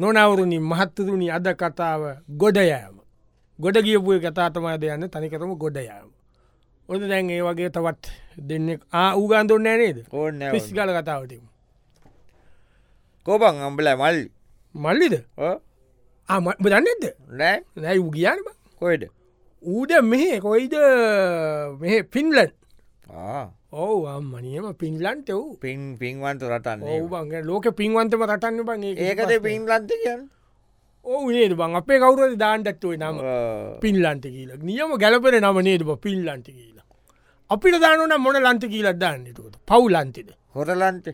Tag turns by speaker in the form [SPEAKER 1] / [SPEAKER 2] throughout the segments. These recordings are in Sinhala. [SPEAKER 1] නොනවරුණි මහත්තතුනි අද කතාව ගොඩයෑම ගොඩ ගියපුය කතාතමාද යන්න තනිකරම ගොඩයෑම ඔොද දැන් ඒ වගේ තවත් දෙන්න ආූගන්තොන්න නේද
[SPEAKER 2] ඕන්න
[SPEAKER 1] පිස්්ගල කතාවටම
[SPEAKER 2] කෝපන් අම්බල මල්
[SPEAKER 1] මල්ලිද ආමම දන්නෙද
[SPEAKER 2] නෑ
[SPEAKER 1] නැයි වූ කියන්න
[SPEAKER 2] කොයිඩ
[SPEAKER 1] ඌද මෙහෙ කොයිද මෙ පින්ලන් ඔව අම්මනියම පින්ලන්ට වූ
[SPEAKER 2] පින් පින්වන්ත රටන්න
[SPEAKER 1] ඔවුබන්ගේ ලෝක පින්වන්තම රටන්න බන්
[SPEAKER 2] ඒකද පින්ලන්ත කියන්න
[SPEAKER 1] ඕ නේද බං අපේ කවුරද දාන්ටත්වේ නම පින්ලන්ට කියීලක් නියම ගැලපෙන නම නේද බං පින්ලන්ට කියලා අපිට දානන මොන ලන්ත කියීලත් දාන්නටට පවුලන්තිද
[SPEAKER 2] හොරලන්ට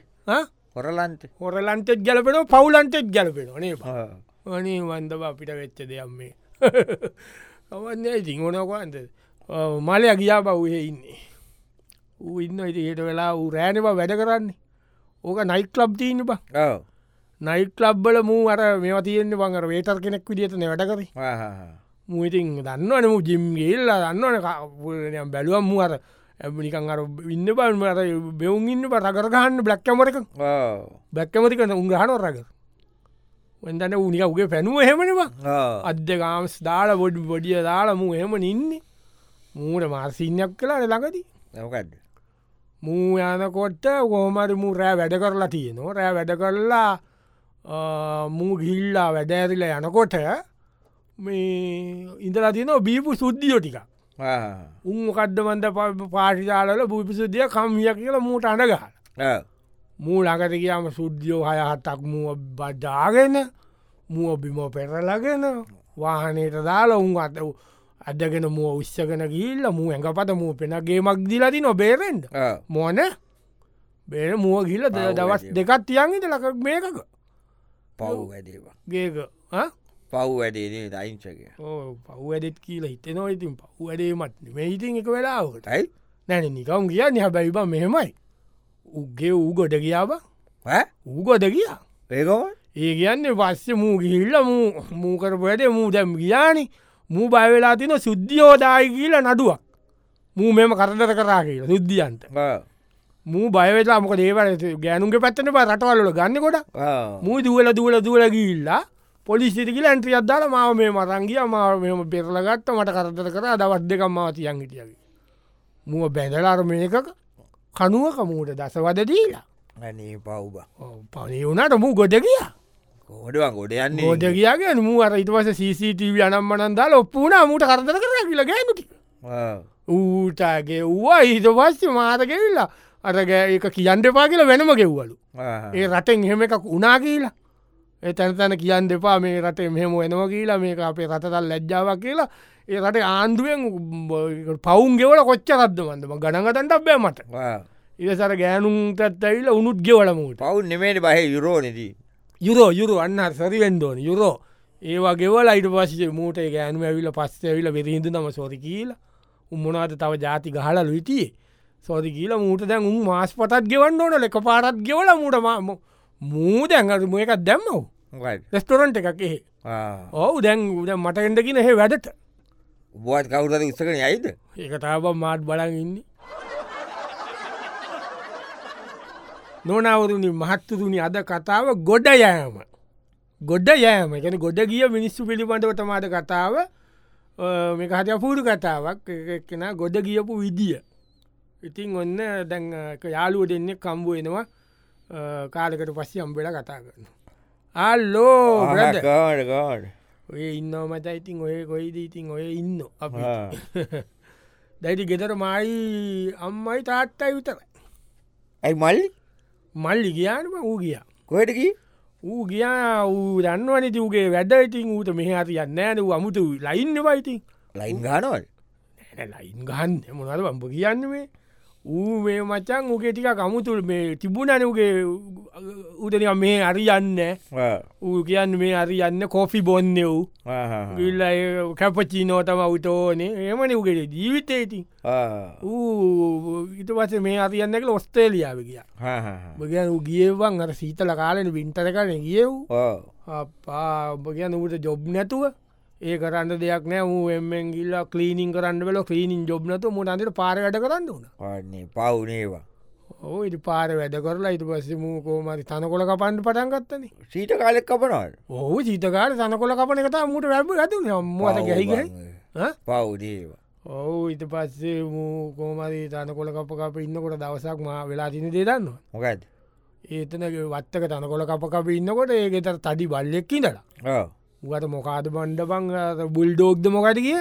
[SPEAKER 2] හොරලන්ට
[SPEAKER 1] හොරලන්තෙත් ගැලපෙන පවුලන්තෙත් ගැලපෙන නේ වනේ වන්දව අපිට වෙච්ච දෙයක් මේ අවන්නේ ඉතින් ඕනකන්ද මලය ගියා බව්හේ ඉන්නේ ඌ ඉන්න ඉති හට වෙලා ඌ රෑනවා වැඩ කරන්නේ ඕක නයිට ලබ් තිීන්න බා නයිට ලබ්බල මූ අර මෙවා තියෙන්න්න බංඟර වේටර් කෙනෙක් විදිියතන වැඩ කර මුඉතින් දන්නවන මු ජිම්ගේල්ලා දන්නවන බැලුවම් මු අර නිකන් අර ඉන්න බලම අර බෙවුන් ඉන්න පරකරගහන්න බ්ලක්්කමරක බැක්කමතික උන්ගහන රක වදන්න උනික උගේ පැනුව හෙමනවා අධ්‍යකාම්ස් දාල බොඩ් බොඩිය දාලා මූ හෙම ඉන්නේ මූට මාසිීනයක් කලා ලඟදී
[SPEAKER 2] නොකඩ
[SPEAKER 1] මූ යනකොට ගෝමරි මූ රෑ වැඩ කරලා තියෙනවා රෑ වැඩ කරලා අ, මූ ගිල්ලා වැඩ ඇරිල යනකොට මේ ඉඳලා තියන බීපු සුද්ධියෝ ටික උන්කදමන්ද පාටිතාලල බූපි සුද්ධිය කම්ිය කියලා මූට අනගහ මූ ළඟට කියම සුද්ධියෝ හය හතක් මුව බජාගෙන මුව බිම පෙරලගෙන වාහනයට දාලා උන් අත අදගෙන මුව උස්සගෙන ගිල්ල මූ ඇඟපත මූ පෙනගේ මක් දිලති නොබේරෙන්ට මොන බේර මුව ගිල්ල ද-
[SPEAKER 2] පව්
[SPEAKER 1] දවස්
[SPEAKER 2] වැඩිව.
[SPEAKER 1] දෙකත් තියන්ගට ලක මේකක
[SPEAKER 2] පව් වැඩේවා
[SPEAKER 1] ගේක
[SPEAKER 2] පව් වැඩේ දයිංසකය
[SPEAKER 1] පව් වැඩෙත් කියලා හිතනවා ඉතින් පව් වැඩේමත් මේඉතින් එක වෙලාවට
[SPEAKER 2] ටයි
[SPEAKER 1] නැන නිකම් කිය නිහ බැවිබ මෙහෙමයි උගේ ඌගොඩ කියාව ඌගොඩ කියා
[SPEAKER 2] ඒකෝ
[SPEAKER 1] ඒ කියන්නේ පස්සේ මූ ගිල්ල මූකරපු ඇට මූ දැම් ගියානි මූ බයවෙලා තින සුද්ධියෝදායි කියල නඩුවක් මූ මෙම කරදර කරා කියලා සුද්ධියන්ට මූ බයවෙලා මොක දේවල ගෑනුන්ගේ පැත්තන ප රටවල්ල ගන්නකොට මූ දුවල දුවල දුවල ගිල්ලා පොලිසිටිකල ඇන්ට්‍රිය අදදාල මාව මේ මරංගිය මාව මෙම පෙරලගත්ත මට කරතර කර දවත් දෙක මාතියන් හිටියගේ. මුව බැඳලාර මේක කනුවක මූට දසවද දීලා
[SPEAKER 2] ඇනේ පව්බ
[SPEAKER 1] පනේ වුණට මූ ගොඩ කියා
[SPEAKER 2] කෝඩවා ගොඩ
[SPEAKER 1] ගොඩ
[SPEAKER 2] යන්නේ
[SPEAKER 1] කියගේ මූ අර ඉටවස CCTV අනම්මනන්දාල ඔප්පුුණ මූට කරතර කර කියලා ගෑනුට ඌටගේ ව්වා හිතවස්්‍ය මාතකෙල්ලා අරගෑ එක කියන්ඩපා කියලා වෙනම ගෙව්වලු. ඒ රටෙන් එහෙම එකක් උනා කියලා ඒ තැනතැන කියන් දෙපා මේ රට මෙහෙම වෙනවා කියලා මේක අපේ රටතල් ලැජ්ජාවක් කියලා ඒ රට ආණ්ඩුවෙන් පවුන් ගෙවල කොච්ච රද්දමන්දම ගණගතන්ට බෑ මට ඉරසර ගෑනුන්ටත් ඇවිල උනුත් ගෙවලමූට
[SPEAKER 2] පවු් නෙමේට බහ යුරෝනෙදී
[SPEAKER 1] යුරෝ යුරු අන්න සරිවෙන්ඩෝන යුරෝ ඒවා ගෙවල අයිට පස්සේ මූට ඒ ගෑනු ඇවිල පස්ස ඇවිල බෙරහිදු නම සොරි කියලා උම්මනාද තව ජාති ගහලලු හිටියේ සොරි කියල මූට දැන් උන් මාස් පටත් ගෙවන්න ඕන ලෙක පාරත් ගෙවල මූටම මූ දැන්ගරු මේ එකක් දැම්මව රෙස්ටොරන්ට එකක් එහෙ ඔවු දැන් උද මටගෙන්ටකින එහෙ වැඩට
[SPEAKER 2] උබුවත් කවුරද උත්සකන යයිද
[SPEAKER 1] ඒකතාව මාට් බලන් ඉන්නේ නොනවරුණි මහත්තුරුණි අද කතාව ගොඩ යෑම ගොඩ යෑම ගැන ගොඩ ගිය මිනිස්සු පිළිබඳව තමාද කතාව මේ හට අපූරු කතාවක් කෙන ගොඩ ගියපු විදිිය ඉතින් ඔන්න දැන් යාලුව දෙන්නේ කම්බු එනවා අ, කාලෙකට පස්සේ අම්බෙල කතා කරන අල්ලෝ බ්‍රදර්.
[SPEAKER 2] ගෝඩ
[SPEAKER 1] ඔය ඉන්නව මත ඉතින් ඔය කොයිද ඉතින් ඔය ඉන්න අප දැයිති ගෙදර මයි අම්මයි තාත්තයි විතර
[SPEAKER 2] ඇයි මල්ලි
[SPEAKER 1] මල්ලි ගියානම වූ ගියා
[SPEAKER 2] කොටකි
[SPEAKER 1] ඌ ගියා ඌ දන්නවනති වූගේ වැඩ ඉතින් ඌට මෙහට යන්නෑන අමුතු ලයින්න වයිතින්
[SPEAKER 2] ලයින් ගානවල්
[SPEAKER 1] ලයින් ගහන්න මොනද බම්ප කියන්න මේ ඌ මේ මචන් ඌගේ ටික කමුතුල් මේ තිබුණනගේ උදනික මේ අරි යන්න ඌ කියන්න මේ අරි යන්න කොෆි බොන්න වූ ඉල්ල කැපචීනෝ තම උටෝනේ එමන උගේ ජීවිතේ ඉතින් ඌ ඉට පස මේ අතියන්නෙක ඔස්ට්‍රේලියාව කිය බගන ගියවන් අර සීතල කාලෙන විින්ටර කරන ගියව් අපා ඔබ කියන ඌට ජොබ් නැතුව ඒ කරන්න දෙයක් නෑ ඌ එමෙන් ගිල්ල කලීනිින් කරන්න වෙල කලීනින් ජොබ් නතු මුට අන්ට පාරයට කරන්න වුණ
[SPEAKER 2] පාන්නේ පවුනේවා
[SPEAKER 1] ඕ ඉට පාර වැඩ කරලා ඉට පස්සේ මූකෝ මරි තනකොල කපන්ඩ පටන් ගත්තන
[SPEAKER 2] සීට කාලෙක් කපනවල්
[SPEAKER 1] ඔහු චීතකාර සනකොල කපන එකතා මුට වැැබ ගතු අම්මත ගැහිග
[SPEAKER 2] පව්දේවා
[SPEAKER 1] ඔවු ඉට පස්සේ මූකෝමරි තනකොල කප කප ඉන්නකොට දවසක් මා වෙලා තින දේදන්නවා
[SPEAKER 2] මොකද
[SPEAKER 1] ඒතන වත්තක තනකොල කප කප ඉන්නකොට ඒගෙත තඩි බල්ලෙක්කි දලා උගට මොකාද බණ්ඩ පංගත බුල්්ඩෝක්ද මොකට කිය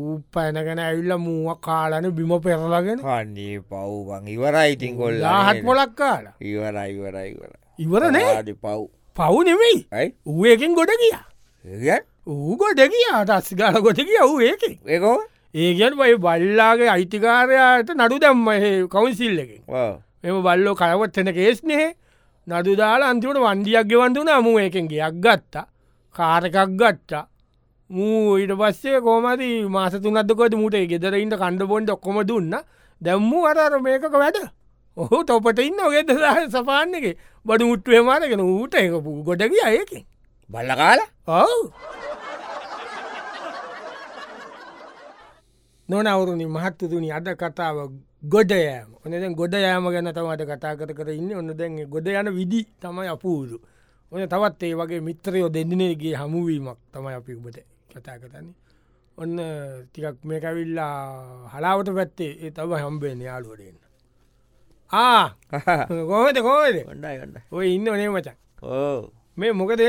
[SPEAKER 1] ඌ පැනගෙන ඇවිල්ල මුවක් කාලන බිම පෙරලාගෙන
[SPEAKER 2] පන්නේ පව්වන් ඉවරයි ඉතින් කොල්ල
[SPEAKER 1] ලාහත් මොලක් කාල
[SPEAKER 2] ඉවරයි ඉවරයිවර
[SPEAKER 1] ඉවරනේ
[SPEAKER 2] ආඩි පව්
[SPEAKER 1] පවු නෙමෙයි
[SPEAKER 2] ඇයි
[SPEAKER 1] ඌයකින් ගොඩ කිය
[SPEAKER 2] ඒගැන්?
[SPEAKER 1] ඌ ගොඩ කිය අටස් ගල ගොට කිය ඌ ඒකින්
[SPEAKER 2] ඒකෝ
[SPEAKER 1] ඒගන් වයි බල්ලාගේ අයිතිකාරයාට නඩු දැම්ම කවුන්සිල් එක
[SPEAKER 2] ඔව්.
[SPEAKER 1] එම බල්ලෝ කලවත්තන කේස්නේ නඩු දාලා අන්තිමට වන්ඩියක් ගෙවන්දුන අමු ඒකෙන් ගයක් ගත්තා කාරකක් ගත්තා මූ ඊට පස්සේ කෝමති මාස තුනත්කොද මුට ගෙදරඉට කණ්ඩ පොන්ඩ ඔක්කොම දුන්න දැම්මූ අරර මේකක වැඩ ඔහු තොපට ඉන්න ඔගෙද සපාන්න එක බඩු මුට්ටුවේ මාරගෙන ඌට එක ගොඩගිය අයකින්
[SPEAKER 2] බල්ල කාල
[SPEAKER 1] ඔව නොනවරුණි මහත්තතුනි අද කතාව ගොඩ යෑම ඔනද ගොඩ යෑම ගැන තමට කතා කර කර ඉන්න ඔන්න දැන් ඒ ගොඩ යන විදි තමයි අපූරු ඔන තවත් ඒ වගේ මිත්‍රයෝ දෙදිනේගේ හමුුවීමක් තමයි අපි උබට කතා කරන්නේ ඔන්න ටිකක් මේකවිල්ලා හලාවට පැත්තේ ඒ තව හම්බේෙන යාලුවටන්න ආ ගොහද කෝද
[SPEAKER 2] ගොඩයි ගොඩ
[SPEAKER 1] ඔය ඉන්න නේ මචන්
[SPEAKER 2] ඕ
[SPEAKER 1] මේ මොකද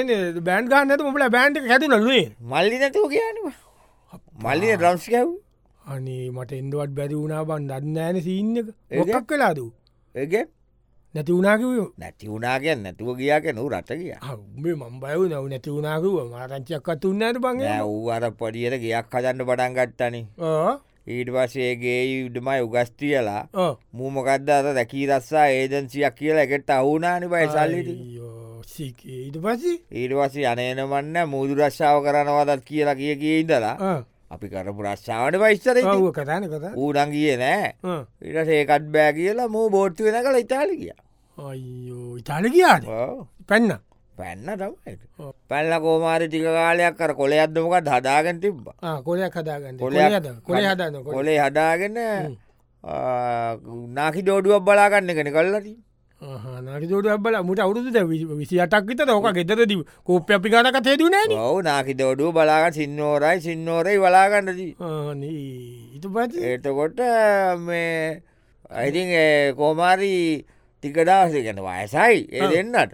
[SPEAKER 1] බෑන්් ගන්නත මොල බෑන්් ඇති නලුවේ
[SPEAKER 2] මල්ලි නැතුව කියනවා මල්ලි රම්ස් කැව්
[SPEAKER 1] අනේ මට එන්ඩුවත් බැරි වුණා බන් දන්නෑන සිීන්නක ඒකක් කලාද
[SPEAKER 2] ඒග
[SPEAKER 1] නැති වුණකිව
[SPEAKER 2] නැති වුණාගෙන් නැතුව ගියාක නු රට කිය
[SPEAKER 1] මේ මම් බයව නව නැති වුණකිව මාරංචියක්කත් උන්නට බංග
[SPEAKER 2] ඌ අර පොඩියට ගයක් කදන්න පටන් ගට්ටන ඊට පසේගේ ඉඩමයි උගස්තියලා මූමකක්ද අත දැකී රස්සා ඒදන්සියක් කියලා එකට අවුනානි බයි සල්ලිට
[SPEAKER 1] සිකීට පසි
[SPEAKER 2] ඊටවස යනයනමන්න මුදු රශ්ාව කරනවදත් කියලා කිය කිය ඉදලා අපි කරපු රශ්ාවට පයිස්සර
[SPEAKER 1] ඔව කතාන කතා
[SPEAKER 2] ඌඩන්ගිය නෑ
[SPEAKER 1] ආ.
[SPEAKER 2] ඉට සේකත් බෑ කියලා මූ බෝට්තු වෙන කළ ඉතාලි කිය
[SPEAKER 1] අයියෝ ඉතාල කියාට පැන්න
[SPEAKER 2] පැන්න තමයි
[SPEAKER 1] ඔව්.
[SPEAKER 2] පැල්ල කෝමාරි ටික කාලයක් කර කොළ අදමකක් හදාගෙන තිබ්බ
[SPEAKER 1] කොලයක් හදාගන්න කොලේ
[SPEAKER 2] කොලයක්
[SPEAKER 1] හද- කොලේ හදන්න කො
[SPEAKER 2] කොලේ හදාගෙන නාකි දෝඩුවක් බලාගන්න කෙන කල්ලට
[SPEAKER 1] නාකිතෝට බල මුට අවුරුදු විසි අටක්විත ඕක ගෙතරදී කෝප්‍ය අපි ගණක තේදුනෑන
[SPEAKER 2] ඔවු නාකි දෝඩුව බලාගන්න සින්නෝරයි සින්නෝරයි බලාගන්නදී
[SPEAKER 1] ඉතු පති
[SPEAKER 2] එතකොට මේ අයිතින් කෝමාරී ටිකඩාස ගැන වයසයි ඒ දෙන්නට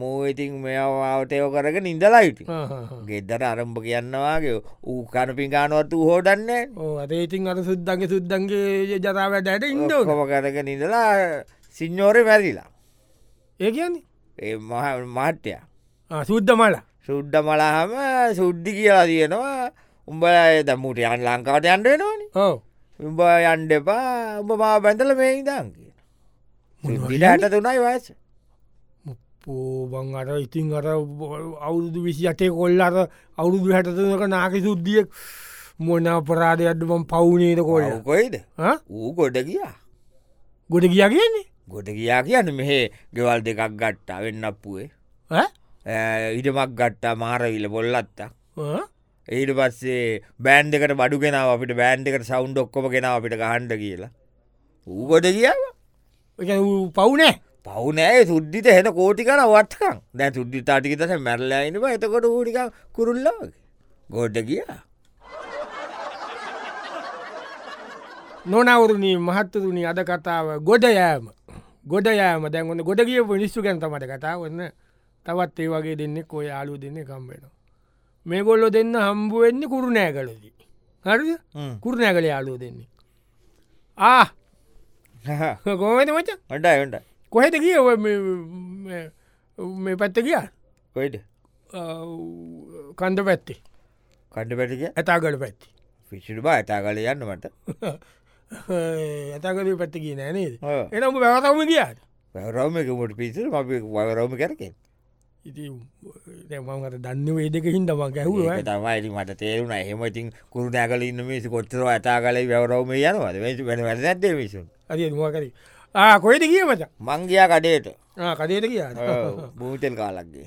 [SPEAKER 2] මූඉතින් මෙවාවටයෝ කරග නිදලයිට ගෙද්දර අරම්භ කියන්නවාගේ ඌ කණ පිකානුවත් වූ හෝඩන්න
[SPEAKER 1] ඕ අතේඉතින් අර සුද්දන්ගේ සුද්දන්ගේ ජරාව ඇයට ඉන්ඩ
[SPEAKER 2] කොම කරග නිදලා සිං්ඥෝරය වැැරිලා
[SPEAKER 1] ඒ කියන්නේ
[SPEAKER 2] ඒ මාට්‍යය
[SPEAKER 1] ආ, සුද්ද මලා
[SPEAKER 2] සුද්ඩ මලාහම සුද්ධි කියලා තියෙනවා උඹල දම්මුට යන් ලංකාට යන්ඩෙනවාන
[SPEAKER 1] ඕ
[SPEAKER 2] උඹ යන්ඩ එපා උඹ මා බැඳල මේ ඉදන් කියන දිලාට තුනයි වයස
[SPEAKER 1] පෝබං අර ඉතින් අර බො- අවුරුදු විසි අටේ කොල්ල අර අවුරුදු හැටතක නාකි සුද්ධියක් මොන අපරාධ අඩුවම් පවුනේද කොල්ල
[SPEAKER 2] කොයිද
[SPEAKER 1] ආ?
[SPEAKER 2] ඌ ගොඩ ගියා
[SPEAKER 1] ගොඩ කියා කියන්නේ
[SPEAKER 2] ගොඩ ගියා කියන්න මෙහේ ගෙවල් දෙකක් ගට්ටා වෙන්න අප්පුුවේ
[SPEAKER 1] ඈ?
[SPEAKER 2] ඉඩමක් ගට්ටා මාරවිල බොල්ලත්තා
[SPEAKER 1] ආ?
[SPEAKER 2] ඊට පස්සේ බෑන්් එකට බඩු කෙනාව අපිට බෑන්් එකට සෞන්් ඔක්කොම කෙනාව අපිට ගහන්ඩ කියලා ඌ ගොඩ කියාව
[SPEAKER 1] ඒ කියන්නේ ඌ පවුනෑ
[SPEAKER 2] පවුනෑ සුද්ධිත හෙන කෝටිකන වත්කං දැ සුද්ධි තාටිකතස මැරලයිනවා එතකොට ඌටික කුරුල්ලගේ ගොඩ කියා
[SPEAKER 1] නොනවරුණී මහත්තතුනි අද කතාව ගොඩ යෑම ගොඩ යෑම දැන්ගොන්න ගොඩ කිය නිස්සු ගැන්තමට කතාවන්න තවත් ඒ වගේ දෙන්න කොය යාලු දෙන්න කම්බෙන මේ ගොල්ලො දෙන්න හම්බුවෙන්නේ කුරු නෑගලදී හරි කුරු නෑගල යාලුව දෙන්නේ ආ ගොමද මච
[SPEAKER 2] හොට ට
[SPEAKER 1] කොහෙද කිය ඔය මේ- මේ පැත්ත කිය
[SPEAKER 2] කොයිට
[SPEAKER 1] කන්ද පැත්තේ
[SPEAKER 2] කඩ පැටික
[SPEAKER 1] ඇතාගල පැත්ති
[SPEAKER 2] පිසිට බා ඇතා කල යන්න මට
[SPEAKER 1] ඇතකල පැත්ත කිය නෑනේද එනම බැවතම කියාට
[SPEAKER 2] පැවරවම එකමට පිසිට අපි වරෝම කරකෙන්
[SPEAKER 1] ඉති දැමට දන්න වේදකින් දම ගැහුව
[SPEAKER 2] තමයිති මට තේරුණ එහෙම ඉතින් කුරුණෑ කල ඉන්න මිසි කොත්තර ඇතා කල වැවරවම යනවද වෙන වැ නැත්තේ මිසුන්
[SPEAKER 1] අද දවාකර ආ කොයිද කිය මච
[SPEAKER 2] මංගයා කඩේට
[SPEAKER 1] කදයට කියා
[SPEAKER 2] බූතල් කාලක්ගේ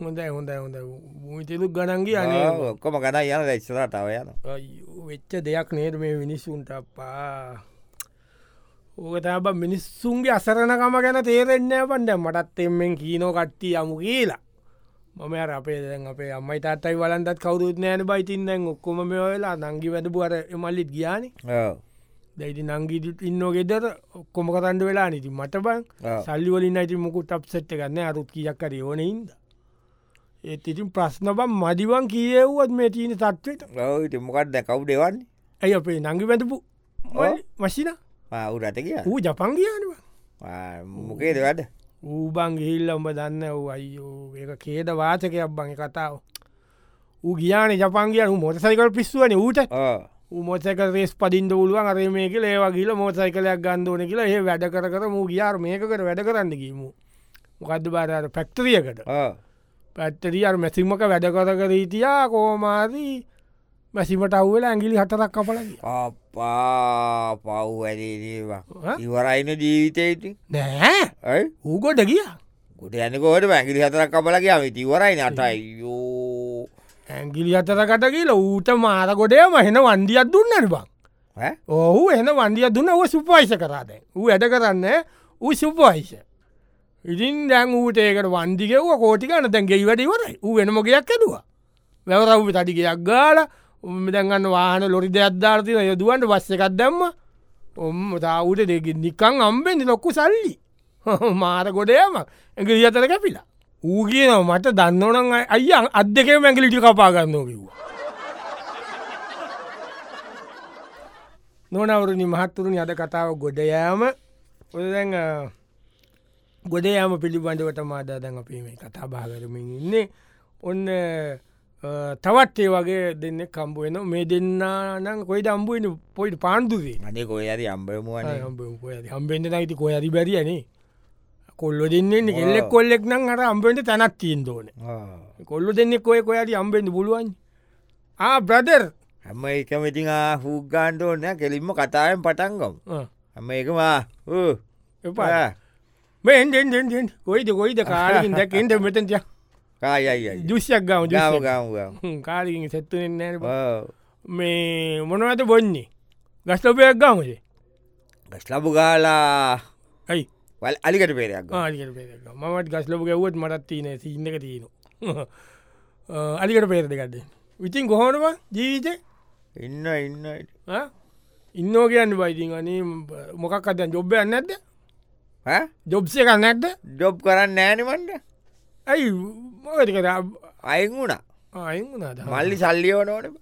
[SPEAKER 1] හොඳයි හොඳයි හොඳ මූතලුක් ගණන්ගේ අන
[SPEAKER 2] ඔක්කොම ගන යන ඉස්සරටාව යන
[SPEAKER 1] වෙච්ච දෙයක් නේර මේ මිනිස්සුන්ට අපා ඕකතබ මිනිස්සුන්ගේ අසරණකම ගැන තේරෙන්න පන්ඩ මටත් එෙන් කීනෝ කට්ටි යමු කියලා මම අර අපේ දැන් අපේ අම්මයි තාත්තයි වලන්ටත් කවරුත් නෑන බයිතින්දැන් ඔක්කොම මේ ඔයලා නංගි වැදපුුවර එමල්ලිත් ගියානි දැයිති නංගිට ඉන්න ගෙදර ඔක්කොම කරන්ඩ වෙලා නිති මට බං
[SPEAKER 2] ඔව්.
[SPEAKER 1] සල්ලිවලින් අයිති මුකු ටප්සෙට් ගන්න අරුත් කියක්කර ඕනයින්ද ඒත් ඉතින් ප්‍රශ්න බම් මදිවන් කියවුවත් මේ තියන තත්වට
[SPEAKER 2] ඔවිට මොකක්ද කව් දෙවන්නේ
[SPEAKER 1] ඇයි අපේ නංගි වැටපු
[SPEAKER 2] ඔව්.
[SPEAKER 1] මසින
[SPEAKER 2] අවුරට කිය
[SPEAKER 1] ඌ ජපන් කියනවා
[SPEAKER 2] මොකේද වැඩ
[SPEAKER 1] ඌබන් ගිහිල්ල උඹ දන්න ඌ අයිෝ ඒ කේද වාචකයක් බං ඒ කතාව ඌ ගියාන ජපන්ගිය මොටසයිකල් පිස්සුවන ඌට
[SPEAKER 2] ඕ
[SPEAKER 1] උමොසක රේස් පදිින්ට පුළුවන් අර මේක ඒවාගේල මෝසයිකලයක් ගන්දෝන කියලා ඒ වැඩ කර කර මූ ගියාර මේකට වැඩ කරන්න ගීමු මොකද බාර පැක්තරියකට
[SPEAKER 2] ඕ
[SPEAKER 1] පැත්තරිය අර මැසිමක වැඩ කර කර හිටියා කෝමාදී මැසිමට අව්වෙල ඇගිලි හතරක් කපල ගියා.
[SPEAKER 2] අපා පව් ඇදේවා
[SPEAKER 1] ඈ?
[SPEAKER 2] ඉවරයින ජීවිතයති
[SPEAKER 1] නෑ
[SPEAKER 2] ඇයි
[SPEAKER 1] ඌගොඩ ගියා
[SPEAKER 2] ගොට යනකොට පැගිලි හතරක් කබලගේ අමි ඉවරයි නටයියෝ
[SPEAKER 1] ඇගිලි අතරකට කියල ඌට මාර ගොඩයම හෙන වන්ඩියත් දුන්නට බං ඔහු එන වන්ඩිය දුන්න ඔ සුපයිස කරාද ඌ ඇඩ කරන්න ඌ සුපයිස ඉතින් දැන් ඌටේකට වන්දිිකව කෝටිකන්න දැන් ගෙයි වැඩිවරයි ඌ වෙනමගයක් ඇදවා වැවරව් තටිකයක් ගාල උමදැගන්න වාහන ලොරි දෙයක්ධාර්තින යොදුවන්ට වස්ස එකක් දැම්ම ඔම්ම තාවට දෙක නිකං අම්බෙන්දි ලොක්කු සල්ලි මාර ගොඩයම ඇගිලි අතර කැපිලා ඌ කියනව මට දන්නවනන් අයි අත් දෙකේ මැගිලිටි කපාගන්නෝ කිව්වා නොනවරුණි මහත්තුරුණි අද කතාව ගොඩ යෑම ඔදැන් ගොඩ යෑම පිළිබඳවට මාදා දැන් අපේ මේ කතා භාගරමින් ඉන්නේ ඔන්න අ, තවත් ඒ වගේ දෙන්න කම්බුවන මේ දෙන්න නම් කොයිට අම්බුවෙන පොයිට පාන්දුදේ
[SPEAKER 2] මනේ කොයද අම්බරමුවන
[SPEAKER 1] හම්බෙන්ට නයිති කොය ඇති බැරියනේ කොල්ල දෙන්නන්නේ කෙල්ලෙක් කොල්ලෙක් නම් අර අම්බෙන්ට තැනක් තියෙන් දෝන කොල්ලු දෙන්නෙක් කොය කොයාට අම්බෙන්ට පුළුවන් ආ බ්‍රදර්
[SPEAKER 2] හැම එකම ඉතිං හූගාන්ට ඕන්න කෙලින්ම කතාවෙන් පටන්ගම් හැම එකමා
[SPEAKER 1] එපා මෙන්ෙන්ෙන් කොයිද කොයිද කාලින් දැකෙන්ට මෙතන්ට
[SPEAKER 2] Ah, කායයි
[SPEAKER 1] දුෂයක් ගම
[SPEAKER 2] ගාම ගාමගම්
[SPEAKER 1] කාලින් සැත්තුවෙන්න මේ මොනවත බොන්නේ ගස්තපයක් ගමසේ
[SPEAKER 2] ගස්ලබු ගාලා
[SPEAKER 1] ඇයි
[SPEAKER 2] වල් අලිකට පේරයක්
[SPEAKER 1] ආලිකට පේරක මමත් ගස්ලපු ගැව්වත් මටත් තියන සින්නක තියෙන අලිකට පේරදකක්ද විතින් කොහොනම ජීවිතය
[SPEAKER 2] ඉන්න ඉන්න
[SPEAKER 1] ඉන්නෝ කියන්න බයිතින් අනේ මොකක් අතන් ජොබ්බයන්න ඇද
[SPEAKER 2] ¿Ah?
[SPEAKER 1] ජොබ්සය කන්න ඇද
[SPEAKER 2] ජොබ් කරන්න ෑනමන්ට
[SPEAKER 1] ඇයි මොකති කර
[SPEAKER 2] අයින් වුණා
[SPEAKER 1] ආය නද
[SPEAKER 2] මල්ලි සල්ලියෝන ඕන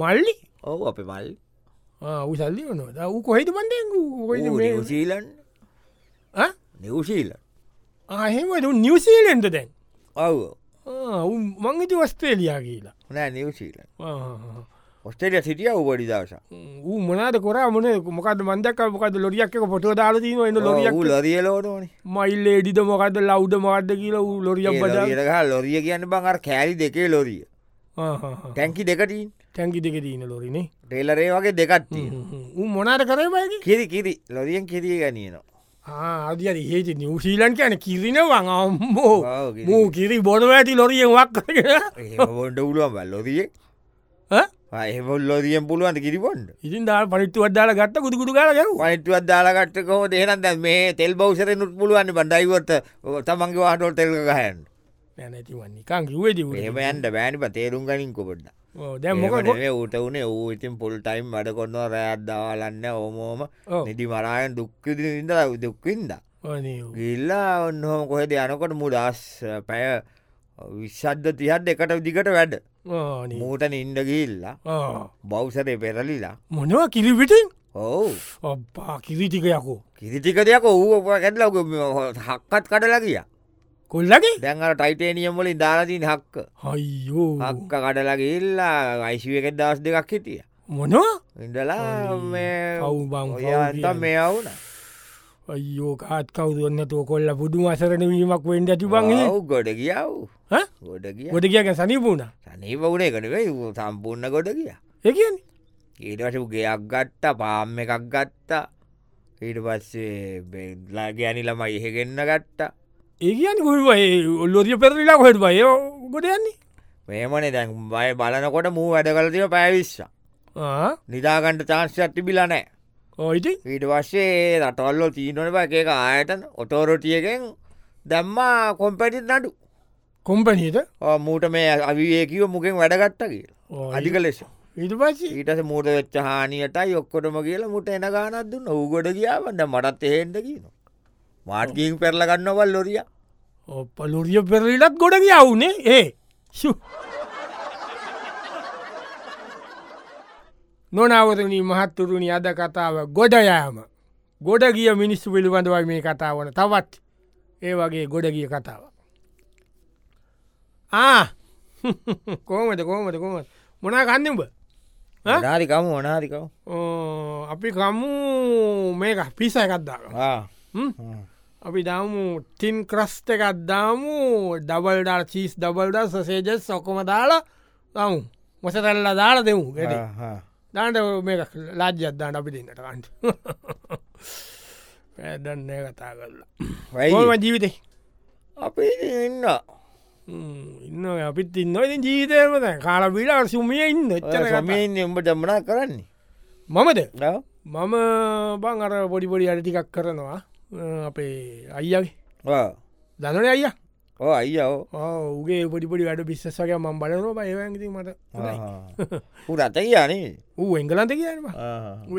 [SPEAKER 1] මල්ලි
[SPEAKER 2] ඔහු අප මල්
[SPEAKER 1] උසල්ලි වනොද ඌ කොහෙට
[SPEAKER 2] Uh,
[SPEAKER 1] පන්ඩ
[SPEAKER 2] නිවසීලන් නිවසීල
[SPEAKER 1] ආහෙම නිවසීලෙන්ට දැන්
[SPEAKER 2] ඔව
[SPEAKER 1] මංගිත වස්ට්‍රේලියයා කියලා
[SPEAKER 2] නෑ නිවසීල
[SPEAKER 1] ආ.
[SPEAKER 2] ඔස්ටේලිය සිටිය උබඩි දවස
[SPEAKER 1] ඌ මොනාද කොර මොන මොකද මන්දක මොකද ලොරියක් එක පොටෝ දාල දීම එන්න
[SPEAKER 2] Oh, uh,
[SPEAKER 1] ලොරියක්
[SPEAKER 2] ලොරියලෝනෝන
[SPEAKER 1] මයිල් ඒඩිද මොකද ලෞ්ඩ මාර්ද කියලා ූ ලොරියක්
[SPEAKER 2] eh,
[SPEAKER 1] බද
[SPEAKER 2] ලොරියහ ලොරිය කියන්න බංර කෑරි දෙකේ ලොරිය තැන්කි දෙකටින්
[SPEAKER 1] තැන්කි දෙක දීන ලොරිනේ
[SPEAKER 2] ටෙලරේ වගේ දෙකත්ති
[SPEAKER 1] ඌ මොනාට කරමයි
[SPEAKER 2] කිරි කිරි ලොරියෙන් කිරිය ගැනීනවා
[SPEAKER 1] අධියට හේති නිවසීලන් කියන කිරිනවං අම්මෝ
[SPEAKER 2] ඔව්, කිරි.
[SPEAKER 1] මූ කිරි බොනව ඇති ලොරියෙන් වක්
[SPEAKER 2] බොඩ පුළුවන් බල් ලොරිය එහොල් ලොරියෙන් පුළුවන්ට කිරිබොන්ඩ
[SPEAKER 1] ඉතින් දා පනිිත්තු වදදාල ගත්ත ගුදුකුඩු කාල ගැව
[SPEAKER 2] වනිටුවත් දාලාගට්ටකෝ දෙහනන් දැ මේ තෙල් බෞසර නුත් පුළුවන් බඩයිවොට තමන්ගේ වාටොල් තෙල්ක ගහයන්
[SPEAKER 1] නැතිවන් නිකං කිවේද
[SPEAKER 2] එහම යන්ට බෑනිප තේරුම් ගනින් කොපට
[SPEAKER 1] දැම් මොක
[SPEAKER 2] ඌට වනේ ඌ ඉතින් පොල්ටයිම් වැඩ කොන්න රෑද්දාවලන්න ඕමෝම
[SPEAKER 1] ඔව්.
[SPEAKER 2] නිටි මරායන් දුක්කිදිද දුක්කින්ද ගිල්ලා ඔන්නහොම කොහෙද යනකොට මුදස් පැය විශ්ද්ධ තිහත් එකට දිගට වැඩ මූට නින්ඩ ගිල්ලා බෞසරය පෙරලිලා
[SPEAKER 1] මොනව කිරිවිටින්
[SPEAKER 2] ඔවු
[SPEAKER 1] ඔබ්පා කිරිටිකයකෝ
[SPEAKER 2] කිරිටික දෙයක් ඔහුප කැටලක හක්කත් කඩලා කිය
[SPEAKER 1] කොල්ලගේ
[SPEAKER 2] දැන්ර ටයිටේනියම්මලින් දාරදිී හක්ක
[SPEAKER 1] අයියෝ
[SPEAKER 2] හක්ක කඩලා ගිල්ලා අයිශුවක දවස් දෙකක් හිටිය
[SPEAKER 1] මොනවා
[SPEAKER 2] ඉඳලා මේ
[SPEAKER 1] අව් බං, අව්
[SPEAKER 2] ඔයන්ට
[SPEAKER 1] කියන්නේ.
[SPEAKER 2] මේ අවුන
[SPEAKER 1] අයෝ කාත් කවුදුන්න තුව කොල්ල බුදු අසරණ වීමක් වෙන්ඩ ඇති බං
[SPEAKER 2] ඔව් ගොඩ කියාව ගොඩ කිය
[SPEAKER 1] ගොඩ කියක සනිපුුණ
[SPEAKER 2] සනී වුණේ කනවෙයි සම්පූර්ණ ගොඩ කිය
[SPEAKER 1] එකන්
[SPEAKER 2] ඊටවට ගයක් ගත්තා පාම් එකක් ගත්තා ඊට පස්සේ බෙල්ලා ගැනිලම ඉහගෙන්න්න ගත්තා
[SPEAKER 1] ඒ කියන්න ගුවයි ඔල්ලෝදිය පෙරලා හොට බය ගොඩ යන්නේ
[SPEAKER 2] මේමනේ දැන් බය බලනකොට මූ වැඩ කලතින පැවිශ්වා නිදාගන්ට චාන්සයක් තිබිලනෑ
[SPEAKER 1] ඕයිති
[SPEAKER 2] ඊට වශයේ රටවල්ලෝ තිීනොනව එක එක ආයතන ඔටෝරොටියකෙන් දැම්මා කොම්පැටිත් නඩු
[SPEAKER 1] කොම්පනීට
[SPEAKER 2] ආ, මූට මේ අවිවේකව මුකෙන් වැඩගත්ත කියලා
[SPEAKER 1] ඕ,
[SPEAKER 2] අධික ලෙස
[SPEAKER 1] ඊට පස්සේ
[SPEAKER 2] ඊටස මූට වෙච්ච හානියටයි ඔක්කොටම කියලා මුට එන ගානත් දුන්න ඌගොඩ කියාවන්න මටත් එහෙන්ට කියන මාර්ගීන් පෙරලගන්නවල් ලොරිය
[SPEAKER 1] ඔපලුරිය පෙරලිලත් ගොඩ යවුනේ ඒ ෂු. නොනවරණී මහත්තුරුණි අද කතාව ගොඩයෑම ගොඩ ගිය මිනිස්සු පිළිබඳවයි මේ කතාවන තවත් ඒ වගේ ගොඩ ගිය කතාව ආ කෝමට කෝමට කෝම මොනා කන්නඹ ඈ?
[SPEAKER 2] නාරිකම ඕනාරිකව
[SPEAKER 1] අපි කමු මේක පිස එකත්දාගම අපි දාමු ටින් ක්‍රස්ට එකත් දාමු ඩබල්ඩා චීස් ඩබල්ඩ සසේජ සොකොම දාලා දමු මොසතල්ලා දාලා දෙමු ගෙට දාට මේ ලාජ්‍යත්දාන්න අපි දෙන්නට කන්ට පැදන්නේ කතා කරලා ඕම ජීවිතේ
[SPEAKER 2] අපි ඉන්න
[SPEAKER 1] හ්ම්, ඉන්න ඔය අපිත් ඉන්න ඉතින් ජීවිතයමද කාලබිලා සුමිය ඉන්න එච්චර කමේ
[SPEAKER 2] සමීන් උඹ දමනා කරන්නේ
[SPEAKER 1] මමද
[SPEAKER 2] ඔව්.
[SPEAKER 1] මම බං අර පොඩිපොඩි අඩටිකක් කරනවා අ, අපේ අයිගේ
[SPEAKER 2] ආ.
[SPEAKER 1] දනන අයියා
[SPEAKER 2] ඕ අයියෝ
[SPEAKER 1] ඔගේ පොඩිපොඩි වැඩ බිස්සක ම බලන බයවැති මට හොඳයි.
[SPEAKER 2] පුරත කියන්නේ
[SPEAKER 1] ඌ එංගලන්ත කියනවා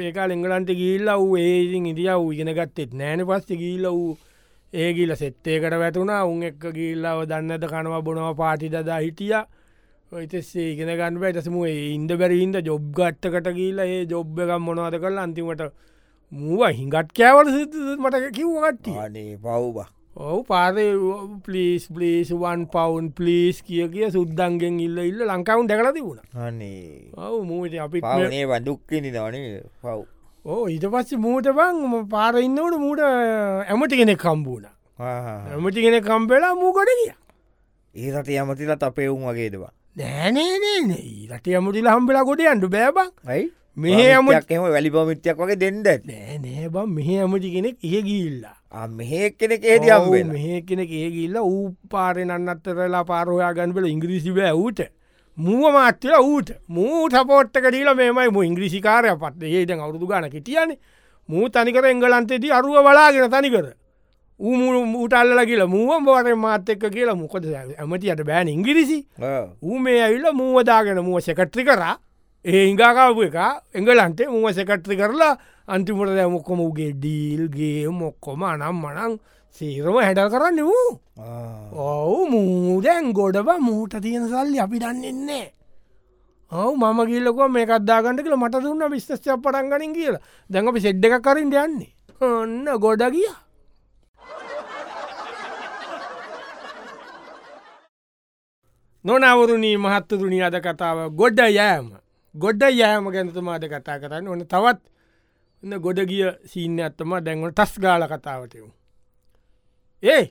[SPEAKER 1] ඒකාල එංගලන්ට ගිල්ල වූ ඒසින් ඉදිිය වූ ඉගෙන ගත්තෙත් නෑන පස්ස ගිල්ල වූ ඒගිල සෙත්තේකට වැටුණා උන් එක්ක ගිල්ලාව දන්නට කනවා බොනවා පාටි දදා හිටිය ඔයිතස්සේ ඉගෙන ගන්න ඇටසම ඉන්ද බැරින්ද ජොබ් ගට්ටකට ගිල්ලා ඒ ජොබ් එකම් මොනවද කරලා අන්තිමට මුව හිඟත් කෑවල සිත මට කිව්වගට්ටිය
[SPEAKER 2] අනේ පව්බ
[SPEAKER 1] ඔවු පාරය පලිස් පලිස් වන් පවන්් පලිස් කිය කිය සුද්දන්ගෙන් ඉල්ල ඉල්ල ලංකාවන් දැකලා තිබුණ
[SPEAKER 2] අනේ
[SPEAKER 1] ඔවු මූට අපි
[SPEAKER 2] පවනේ වඩුක්කිනි දවනේ පව්
[SPEAKER 1] ඕ ඉට පස්සේ මූට බං පාරඉන්නවට මූට ඇමටි කෙනෙක් කම්බූුණ ඇමටි කෙන කම්පෙලා මූකොට කිය
[SPEAKER 2] ඒරට යමතිලත් අපේ උන් වගේදවා
[SPEAKER 1] නෑනේනේ රට ඇමටිල හම්බෙලා කොට අන්ඩු බෑබං
[SPEAKER 2] යි
[SPEAKER 1] මෙහෙ ඇම
[SPEAKER 2] එම වැලි පමිත්‍යක් වගේ දෙන්නද
[SPEAKER 1] නෑනෑ බම් මෙහ ඇමටි කෙනෙක් ඒ ගිල්ලා
[SPEAKER 2] මෙහෙක් කෙනෙ කේද අම්බෙන
[SPEAKER 1] මෙහ කෙනෙක් ඒ ගිල්ල ඌ පාරෙනන්නත්තරලා පාරෝයා ගන්පල ඉංග්‍රීසි බෑ ඌට මුව මාත්‍යල ඌට මූ සපෝට්ට කරීල මේමයි මු ඉංග්‍රිසිකාරය පත් ඒට අවුරදු ගන කිටියන මූ තනිකර එංගලන්තේති අරුව බලාගෙන තනිකර ඌමුළු මූටල්ල කියලා මුවම් බවට මාත එක්ක කියලා මොකද ඇමතියට බෑන ඉංගිරිසි ඌ මේ ඇවිල්ල මූවදාගෙන මුව සෙකට්‍රි කරා ඒ ඉංගාකාපු එක එංගලන්තේ මුව සෙකට්‍රි කරලා අන්තිමට දැ මොක්කොම උගේ ඩීල්ගේ මොක්කොම අනම් මනං සීරම හැඩල් කරන්න වූ ඔවු මූදැන් ගොඩබ මූට තියෙන සල්ලි අපි දන්නෙන්නේ ඔවු මම ගිල්ලක මේකත්දාගන්න කියල මට දුන්න විශ්ස්්‍යයක් පටන්ගනින් කියලා දැඟ අපි සෙඩ් එක කරින් යන්නේ ඔන්න ගොඩ ගිය නොනවරුණී මහත්තතුනි අද කතාව ගොඩ යෑම ගොඩ යෑම ගැනතුමාද කතා කරන්න ඕන තවත් ඔන්න ගොඩ ගිය සීන්න ඇත්තම දැන්වල ටස් ගාල කතාවටයමු ඒ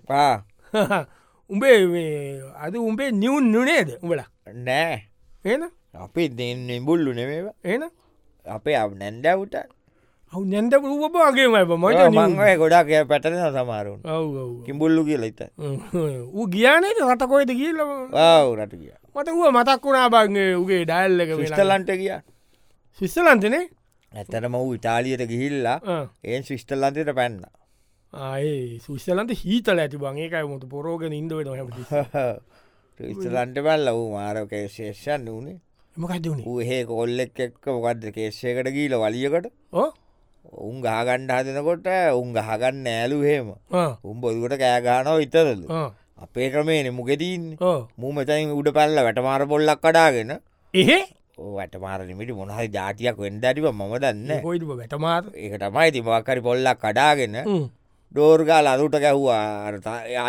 [SPEAKER 1] උඹේ මේ අද උඹේ නිවුන් නුනේද උඹලා
[SPEAKER 2] නෑ
[SPEAKER 1] එන
[SPEAKER 2] අපි දෙන්නේ බුල්ලු නෙමේව
[SPEAKER 1] එන
[SPEAKER 2] අපේ අප නැන්ඩැවුට
[SPEAKER 1] හු නැන්ද පුරුවපාගේ මයි මට
[SPEAKER 2] මංගය ගොඩක් පැටන සමාරුන්
[SPEAKER 1] ඔව්
[SPEAKER 2] කිම්බුල්ලු කියලා ඉත
[SPEAKER 1] ඌ ගියානේද රටකොයිද කියල්ල
[SPEAKER 2] ආව් රට කිය
[SPEAKER 1] මට ව මතක් වුණා බංගේ උගේ ඩයිල් එක
[SPEAKER 2] විස්ටලන්ට කිය
[SPEAKER 1] ශිස්සලන්තනේ
[SPEAKER 2] ඇතනම වූ ඉතාලියට ගිහිල්ලා ඒන් ශිෂ්ටල්ලන්තයට පැන්න
[SPEAKER 1] ආයේ සුස්සලන්ත හීතල ඇති බං ඒකයි මොට පොරෝගෙන ඉන්දවෙන හැමට
[SPEAKER 2] ඉස්තලන්ට බැල්ල වූ මාරක ශේෂයන් වනේ
[SPEAKER 1] මකත් වුණේ
[SPEAKER 2] ඌ හේ කොල්ලෙක් එක්ක මොකක්ද කේෂයකට ගීල වලියකට
[SPEAKER 1] ඕ
[SPEAKER 2] උන් ගහගණ්ඩ හදනකොට උන් ගහගන්න ඇලු හෙම උම් බොදුකට කෑගානෝ ඉතරල අපේ ක්‍රමේන මුගෙදීන්න
[SPEAKER 1] ඕ
[SPEAKER 2] මූමතයින් උඩ පැල්ල වැටමාර පොල්ලක් කඩාගෙන
[SPEAKER 1] එහෙ
[SPEAKER 2] වැටමාරනිමිට මොනහරි ජාතියක් වෙන්ඩ ඇටිව මම දන්න
[SPEAKER 1] පොයිට වැටමාර
[SPEAKER 2] ඒක තමයි තිමක්කරි පොල්ලක් කඩාගෙන ඩෝර්ගාල අරුට ගැහ්වා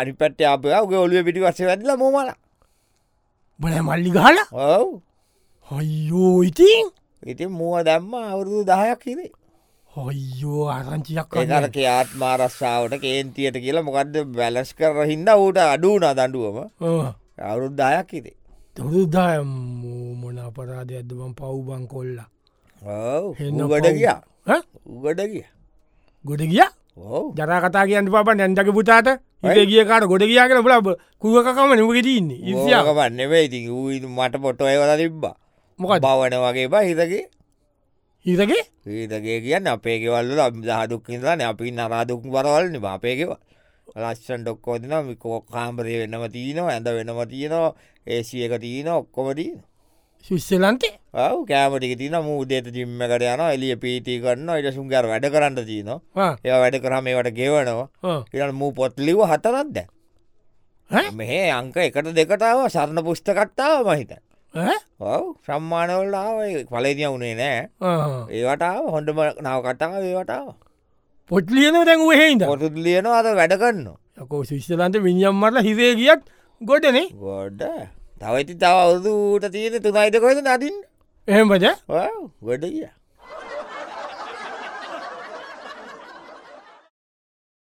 [SPEAKER 2] අනි පැට්ට අපේ උගේ ඔලිය පිටි වස්සේ වැදල මොමල
[SPEAKER 1] බල මල්ලි ගාල
[SPEAKER 2] ඔව්
[SPEAKER 1] හොයෝ ඉතින්
[SPEAKER 2] ඉතින් මුව දැම්ම අවුරුදු දහයක් හිරේ
[SPEAKER 1] හොයෝ ආරංචියක්
[SPEAKER 2] ඒකර ආත්මාරස්සාාවට කේන්තියට කියලා මොකක්ද බැලස් කර හින්ද ඌට අඩුනා දඩුවම අවුරුද්ධයක් හිතේ
[SPEAKER 1] තුරුදාය මොන අපරාධ ඇදබම් පව්බං කොල්ලා හෙන්න
[SPEAKER 2] උගඩ
[SPEAKER 1] පව්.
[SPEAKER 2] ගිය
[SPEAKER 1] ඈ?
[SPEAKER 2] උගඩ ගිය
[SPEAKER 1] ගොඩ ගිය
[SPEAKER 2] ඕ
[SPEAKER 1] ජරා කතා කියන්න පාප නැන්දක පුතාට ඉට ගියකාට ගොඩ කියා කර පුලාබ කුවකම නිමගෙටන්නේ ඉසියාක
[SPEAKER 2] ඉසියාකමන්න වෙයිති ඌ මට පොට්ට අයවල තිබ්බා
[SPEAKER 1] මොකද
[SPEAKER 2] බවන වගේ බහිතගේ
[SPEAKER 1] හිතගේ
[SPEAKER 2] ඊතගේ කියන්න අපේකවල්ල දහදුක්කිදන අපි නරාදුක් වරවලන අපේකව ලස්සන් ඩොක්කෝතින මිකෝ කාම්පරය වෙනම තියනවා ඇඳ වෙනම තියනවා ඒසියක තියන ඔක්කොමදී
[SPEAKER 1] ශිස්සලන්තේ
[SPEAKER 2] ඔව කෑමටික තින මූදේත ජිම්ම කර යන එලිය පීටි කරන්න ඉට සුන්ගර වැඩ කරන්න තියන ඒ වැඩ කරම ඒවට ගෙවනවා ඉරන් මූ පොත්ලිව හතරත් දැ මෙහේ අංක එකට දෙකටාව සරණ පුෂ්ටකට්ටාව මහිත ඔව සම්මානවල්ලාව පලේදිය වුණේ නෑ ඒවටාව හොඳම නාව කටාව ඒවටාව
[SPEAKER 1] පොට් ලියන දැන් වහෙහිද
[SPEAKER 2] පොටුත් ලියන අද වැඩගන්න
[SPEAKER 1] යකෝ ශිස්සලන්ත විියම් මරල හිසේ ගියත් ගොඩනේ
[SPEAKER 2] ගොඩ තවයිති තව අවුදුට තියෙන තුනයිතකොද නතින්
[SPEAKER 1] එහෙමද
[SPEAKER 2] ගොඩ කිය